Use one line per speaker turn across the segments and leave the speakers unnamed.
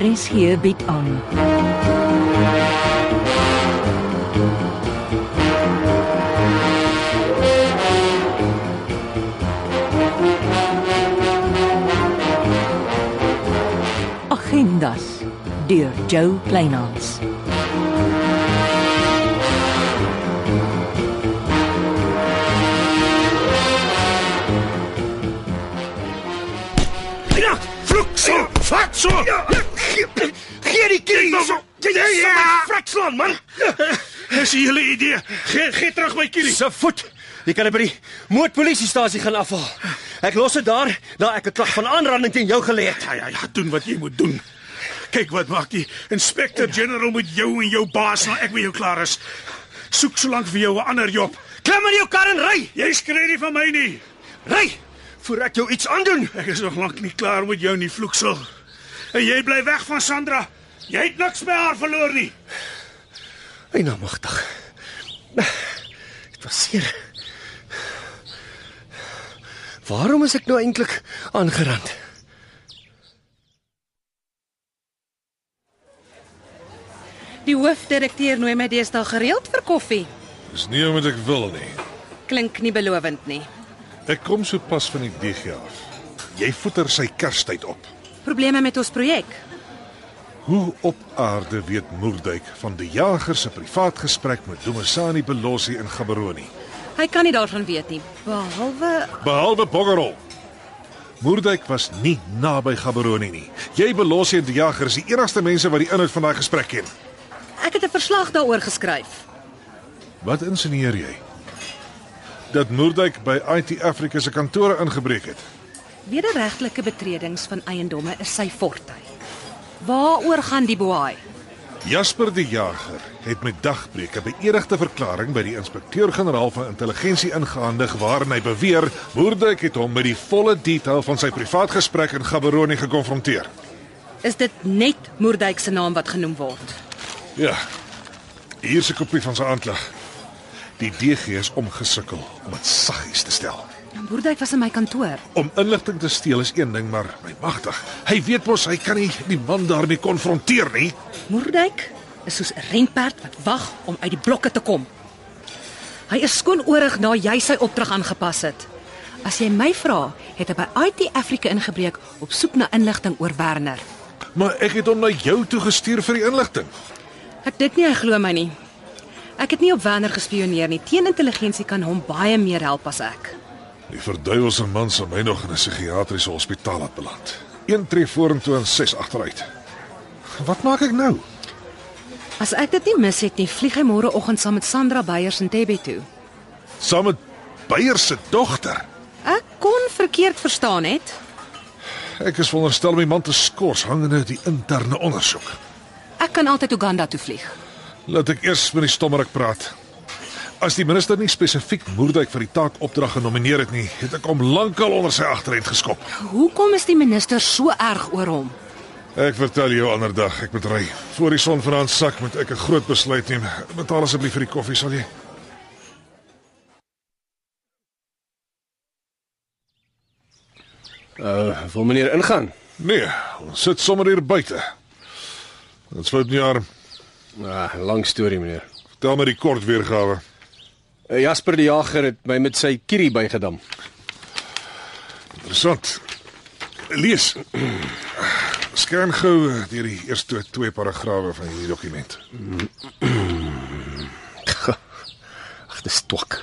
RSG bied aan. Agendas deur Jo Kleinhans.
Ja, vloek so, vat so. Gee gee die kies. Jy jy jy frakslaan man. Dis julle idee. Gee gee terug my kielie. Se voet. Jy kan dit by die moordpolisiestasie gaan afhaal. Ek los dit daar, daar ek 'n klag van aanranding teen jou gelê het.
Ja, ja, ja, doen wat jy moet doen. Kyk wat maak die inspecteur generaal met jou en jou baas nou ek met jou klaar is. Soek so lank vir jou 'n ander job.
Klim in jou kar en ry.
Jy skree nie van my nie.
Ry voor ek jou iets aandoen.
Ek is nog lank nie klaar met jou nie, vloeksel. En jy bly weg van Sandra. Jy het niks by haar verloor nie.
Hy nou magtig. Dit was seer. Waarom is ek nou eintlik aangerand?
Die hoofdirekteur nooi my deesdae gereeld vir koffie.
Dis nie omdat ek wil nie.
Klink nie belovend nie.
Ek kom sopas van die DG af. Jy voeter sy kerstyd op.
Probleme met ons projek.
Hoe op aarde weet Moerduyk van die jager se privaat gesprek met Domisani Belossi in Gaborone,
Hy kan nie daarvan weet nie, behalwe
behalwe Boggerol. Moerduyk was nie naby Gaborone nie. Jy Belossi en die jager is die enigste mense wat die inhoud van daai gesprek ken.
ek het 'n verslag daaroor geskryf.
Wat insinieer jy? Dat Moerduyk by IT Africa se kantore ingebreek het.
Wederregtelike betredings van eiendomme is sy forte. Waaroor gaan die boei?
Jasper die Jager het met dagbreek 'n beëdigde verklaring by die inspekteur-generaal van intelligensie ingehandig waarin hy beweer Boerduyk het hom met die volle detail van sy privaat gesprek in Gaborone gekonfronteer.
Is dit net Moerdijk se naam wat genoem word?
Ja. Hier is 'n kopie van sy aanklag. Die DG is omgesukkel om dit saggies te stel.
Moerdijk was in my kantoor.
Om inligting te steel is een ding, maar my magtig, hy weet mos hy kan nie die man daarmee konfronteer nie.
Moerdijk is soos 'n renperd wat wag om uit die blokke te kom. Hy is skoonorig na jy sy opdrag aangepas het. As jy my vra, het hy by IT Africa ingebreek op soek na inligting oor Werner.
Maar ek het hom na jou toe gestuur vir die inligting.
Ek dink nie hy glo my nie. Ek het nie op Werner gespioneer nie. Teen intelligensie kan hom baie meer help as ek.
Die verduiwelse man sal my nog in 'n psigiatriese hospitaal laat beland. Een tree vorentoe en ses agteruit. Wat maak ek nou?
As ek dit nie mis het nie, vlieg hy môreoggend saam met Sandra Beyers in Tebe toe.
Saam met Beyer se dogter.
Ek kon verkeerd verstaan het.
Ek is veronderstel om die man te skors hangende uit die interne ondersoek.
Ek kan altyd Uganda toe vlieg.
Laat ek eers met die stommerik praat. As die minister nie spesifiek Moerdijk vir die taak opdrag genomineer het nie, het ek hom lankal onder sy agterend geskop.
Hoekom is die minister so erg oor hom?
Ek vertel jou ander dag, ek moet ry. Voor die son vanaand sak moet ek 'n groot besluit neem. Betaal asseblief vir die koffie, sal jy?
Uh, wil meneer ingaan?
Nee, ons sit sommer hier buite. Dit sluit nie aan.
Ah, lang storie meneer.
Vertel my die kort weergawe.
Uh, Jasper die Jager het my met sy kierie bygedam.
Interessant. Lees. Scan gou eh, deur die eerste twee paragrawe van hierdie dokument.
Ag, dis twak.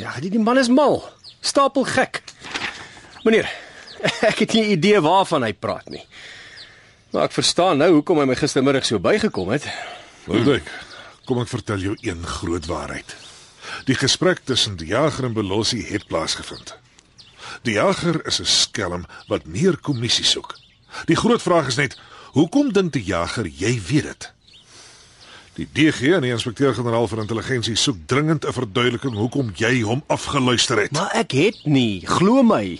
Ja, die, die man is mal. Stapel gek. Meneer, ek het nie idee waarvan hy praat nie. Maar ek verstaan nou hoekom hy my gistermiddag so bygekom het.
Moordwyk, kom ek vertel jou een groot waarheid. Die gesprek tussen die jager en Belossi het plaasgevind. Die jager is 'n skelm wat meer kommissie soek. Die groot vraag is net, hoekom dink die jager jy weet dit? Die DG en die inspekteur-generaal van intelligensie soek dringend 'n verduideliking hoekom jy hom afgeluister het.
Maar ek het nie, glo my.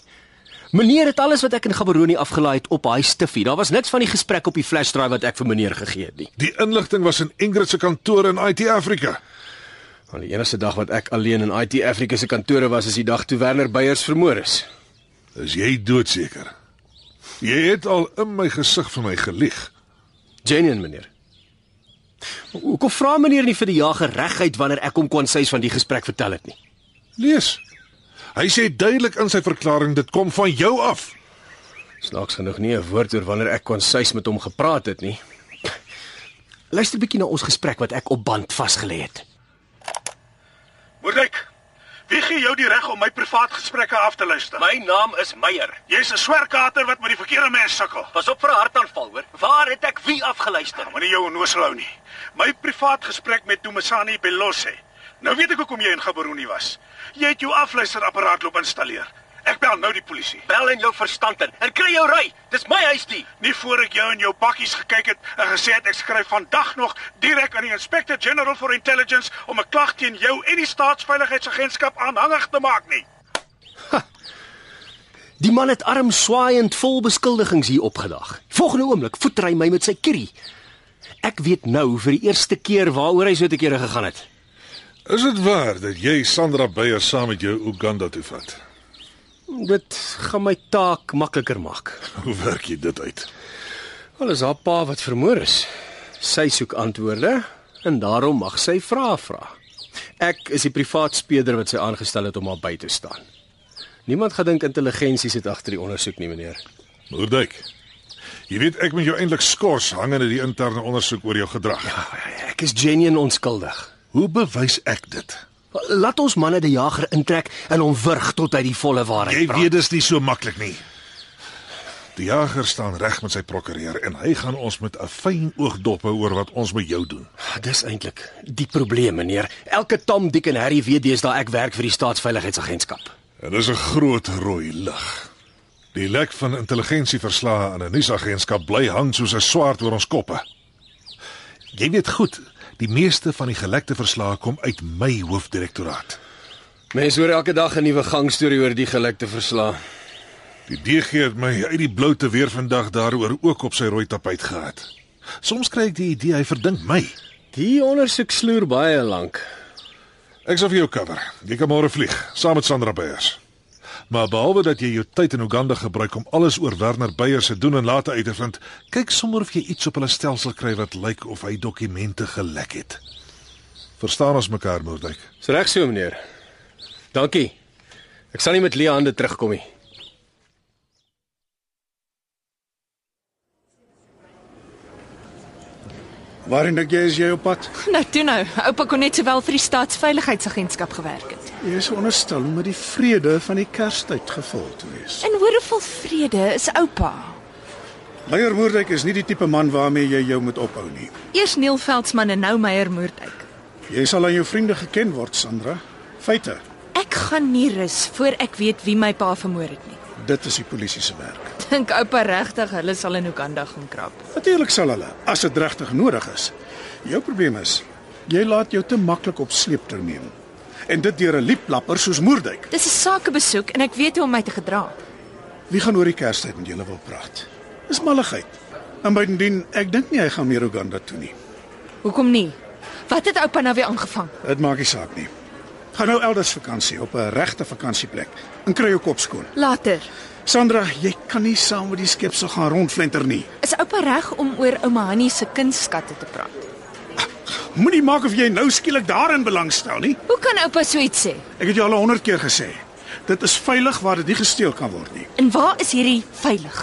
Meneer het alles wat ek in Gaborone afgelaai het op daai stiffie. Daar was niks van die gesprek op die flash drive wat ek vir meneer gegee het nie.
Die inligting was in Ingrid se kantoor in IT Afrika.
Al die enigste dag wat ek alleen in IT Afrika se kantore was, is die dag toe Werner Beyers vermoor is.
Is jy doodseker? Jy het al in my gesig vir my gelieg.
Genien meneer. Hoekom vra meneer nie vir die jager reguit wanneer ek hom konseis van die gesprek vertel het nie?
Lees. Hy sê duidelik in sy verklaring dit kom van jou af.
Snaaks genoeg nie 'n woord oor wanneer ek konseis met hom gepraat het nie. Luister bietjie na ons gesprek wat ek op band vasgelê het.
Moordwyk. Wie gee jou die reg om my privaat gesprekke af te luister?
My naam is Meyer.
Jy's 'n swerkater wat met die verkeerde mens sukkel.
Pas op vir 'n hartaanval, hoor. Waar het ek wie afgeluister?
Moenie jou onnoosel hou nie. My privaat gesprek met Dumisani Belose. Nou weet ek hoekom jy in Gaborone was. Jy het jou afluisterapparaat loop installeer. Ek bel nou die polisie.
Bel in jou verstand in en kry jou ry. Dis my huis die.
Nie voor ek jou in jou bakkies gekyk het en gesê het ek skryf vandag nog direk aan die Inspector General for Intelligence om 'n klag teen jou en die Staatsveiligheidsagentskap aanhangig te maak nie.
Die man het arm swaaiend vol beskuldigings hier opgedag. Volgende oomblik voeter hy my met sy kierie. Ek weet nou vir die eerste keer waaroor hy so te kere gegaan het.
Is dit waar dat jy Sandra Beyer saam met jou Uganda toe vat?
Dit gaan my taak makliker maak.
Hoe werk jy dit uit?
Wel is haar pa wat vermoor is. Sy soek antwoorde en daarom mag sy vrae vra. Ek is die privaat speeder wat sy aangestel het om haar by te staan. Niemand gedink intelligensie sit agter die ondersoek nie, meneer.
Moerdijk. Jy weet ek moet jou eintlik skors hangende die interne ondersoek oor jou gedrag.
Ek is genuen onskuldig.
Ja. Hoe bewys ek dit?
Laat ons manne die jager intrek en hom wurg tot hy die volle waarheid
Jy weet dis nie so maklik nie. Die jager staan reg met sy prokureur en hy gaan ons met 'n fyn oogdop hou oor wat ons met jou doen.
Weet... Ah, Dis eintlik die probleem, meneer. Elke Tom, Dick en Harry weet deesdae ek werk vir die staatsveiligheidsagentskap.
En dis 'n groot rooi lig. Die lek van intelligensieverslae aan 'n nuusagentskap bly hang soos 'n swaard oor ons koppe. Jy weet goed, die meeste van die gelekte verslae kom uit my hoofdirektoraat.
Mense hoor elke dag 'n nuwe gangstorie oor die gelekte verslae.
Die DG het my uit die blou te weer vandag daaroor ook op sy rooi tapuit gehad. Soms kry ek die idee hy verdink my.
Die ondersoek sloer baie lank.
Ek sal vir jou cover. Jy kan môre vlieg saam met Sandra Beyers. Maar behalwe dat jy jou tyd in Uganda gebruik om alles oor Werner Beyers se doen en late uit te vind, kyk sommer of jy iets op hulle stelsel kry wat lyk of hy dokumente gelek het. Verstaan ons mekaar, Moordwyk?
Dis reg so, meneer. Dankie. Ek sal nie met leë hande terugkom nie.
Waarheen dink jy is jy op pad?
Nou toe nou, oupa kon net sowel vir die staatsveiligheidsagentskap gewerk het.
Jy is onderstel om met die vrede van die Kerstyd gevul te wees.
En hoor hoeveel vrede is oupa.
Meyer Moerdijk is nie die tipe man waarmee jy jou moet ophou nie.
Eers Neil Veldsmann en nou Meyer Moerdijk.
Jy sal aan jou vriende geken word, Sandra. Feite.
Ek gaan nie rus voor ek weet wie my pa vermoor het nie.
Dit is die polisie se werk.
Dink oupa regtig hulle sal in Uganda gaan krap.
Natuurlik sal hulle, as dit regtig nodig is. Jou probleem is, jy laat jou te maklik op sleeptou neem. En dit deur 'n lieplapper soos Moerdijk.
Dis 'n sakebesoek en ek weet hoe om my te gedra.
Wie gaan oor die Kerstyd met julle wil praat? Dis malligheid. En bydien, ek dink nie hy gaan meer Uganda toe nie.
Hoekom nie? Wat het oupa nou weer aangevang?
Dit maak nie saak nie. Gaan nou elders vakansie op 'n regte vakansieplek en kry jou kop skoon.
Later.
Sandra, jy kan nie saam met die skepsel gaan rondflenter nie.
Is oupa reg om oor ouma Hanni se kunstskatte te praat?
Moenie maak of jy nou skielik daarin belangstel nie.
Hoe kan oupa so iets sê?
Ek het jou al 100 keer gesê. Dit is veilig waar dit nie gesteel kan word nie.
En waar is hierdie veilig?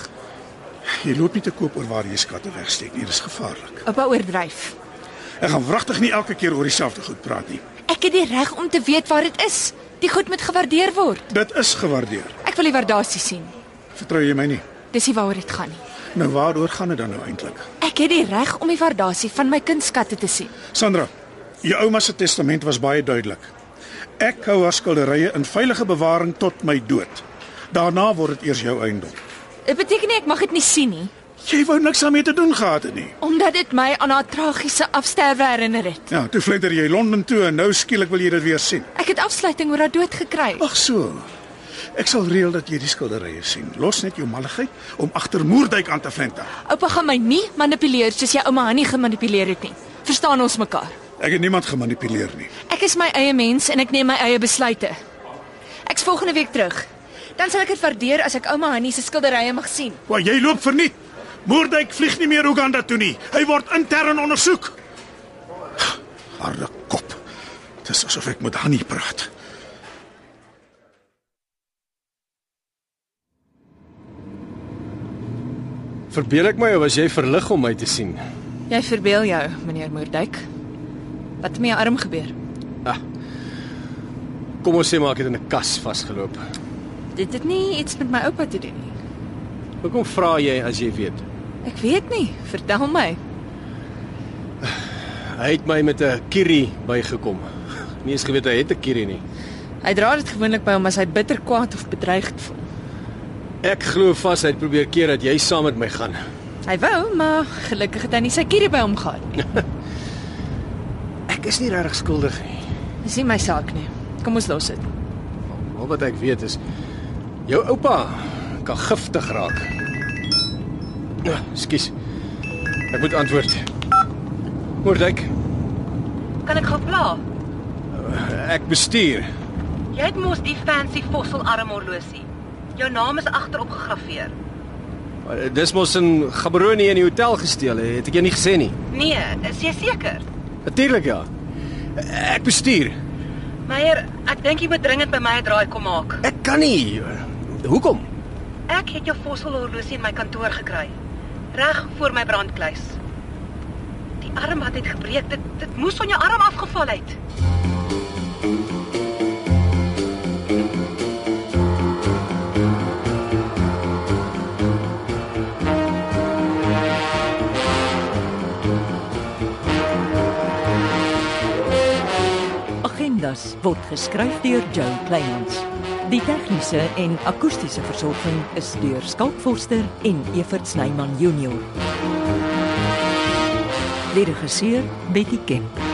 Jy loop nie te koop oor waar jy skatte wegsteek nie. Dit is gevaarlik.
Oupa oordryf.
Ek gaan wragtig nie elke keer oor dieselfde goed praat nie.
Ek het die reg om te weet waar dit is. Die goed moet gewaardeer word.
Dit is gewaardeer.
Ek wil die waardasie sien.
Vertrou jy my nie?
Dis nie waaroor dit gaan nie.
Nou waaroor gaan dit dan nou eintlik?
Ek het die reg om die waardasie van my kunstskatte te sien.
Sandra, jou ouma se testament was baie duidelik. Ek hou haar skilderye in veilige bewaring tot my dood. Daarna word dit eers jou eiendom.
Dit beteken nie ek mag dit nie sien nie,
Jy wou niks daarmee te doen gehad het nie.
omdat dit my aan haar tragiese afsterwe herinner het.
Ja, toe vlinder jy Londen toe en nou skielik wil jy dit weer sien.
Ek het afsluiting oor haar dood gekry.
Ag so. Ek sal reël dat jy die skilderye sien. Los net jou malligheid om agter Moerdijk aan te vlenter.
Oupa gaan my nie manipuleer soos jy ouma Hanni gemanipuleer het nie. Verstaan ons mekaar?
Ek het niemand gemanipuleer nie.
Ek is my eie mens en ek neem my eie besluite. Ek's volgende week terug. Dan sal ek dit waardeer as ek ouma Hannie se skilderye mag sien.
Waar jy loop verniet. Moerdijk vlieg nie meer Uganda toe nie. Hy word intern ondersoek.
Harde kop. Dis asof ek met Hannie praat.
Verbeel ek my of was jy verlig om my te sien?
Jy verbeel jou, meneer Moerdijk. Wat het met jou arm gebeur?
Ah. Kom ons sê maar ek het in 'n kas vasgeloop.
Dit het nie iets met my oupa te doen nie.
Hoekom vra jy as jy weet?
Ek weet nie. Vertel my.
Hy het my met 'n kierie bygekom. Nie eens geweet hy het 'n kierie nie.
Hy dra dit gewoonlik by hom as hy bitter kwaad of bedreigd voel.
Ek glo vas hy het probeer keer dat jy saam met my gaan.
Hy wou, maar gelukkig het hy nie sy kierie by hom gehad nie.
Ek is nie regtig skuldig nie.
Dis nie my saak nie. Kom ons los dit.
Al wat ek weet is jou oupa kan giftig raak. Ja, Skus. Ek moet antwoord. Moordek,
Kan ek gou pla?
ek bestuur.
Jy het mos die fancy fosselarm horlosie. Jou naam is agterop gegraveer.
Uh, Dis mos in Gaborone in die hotel gesteel, hè? het ek jou nie gesê nie.
Nee, is jy seker?
Natuurlik ja. Ek bestuur.
Meyer, ek dink jy moet dringend by my 'n draai kom maak.
Ek kan nie. Hoekom?
Ek het jou fosselhorlosie in my kantoor gekry. Reg voor my brandkluis. Die arm wat het gebreek, dit dit moes van jou arm afgeval het.
Agendas word geskryf deur Joe Kleinhans. Die tegniese en akoestiese versorging is deur Skalk Forster en Evert Snyman Junior. Lede geseer Betty Kemp.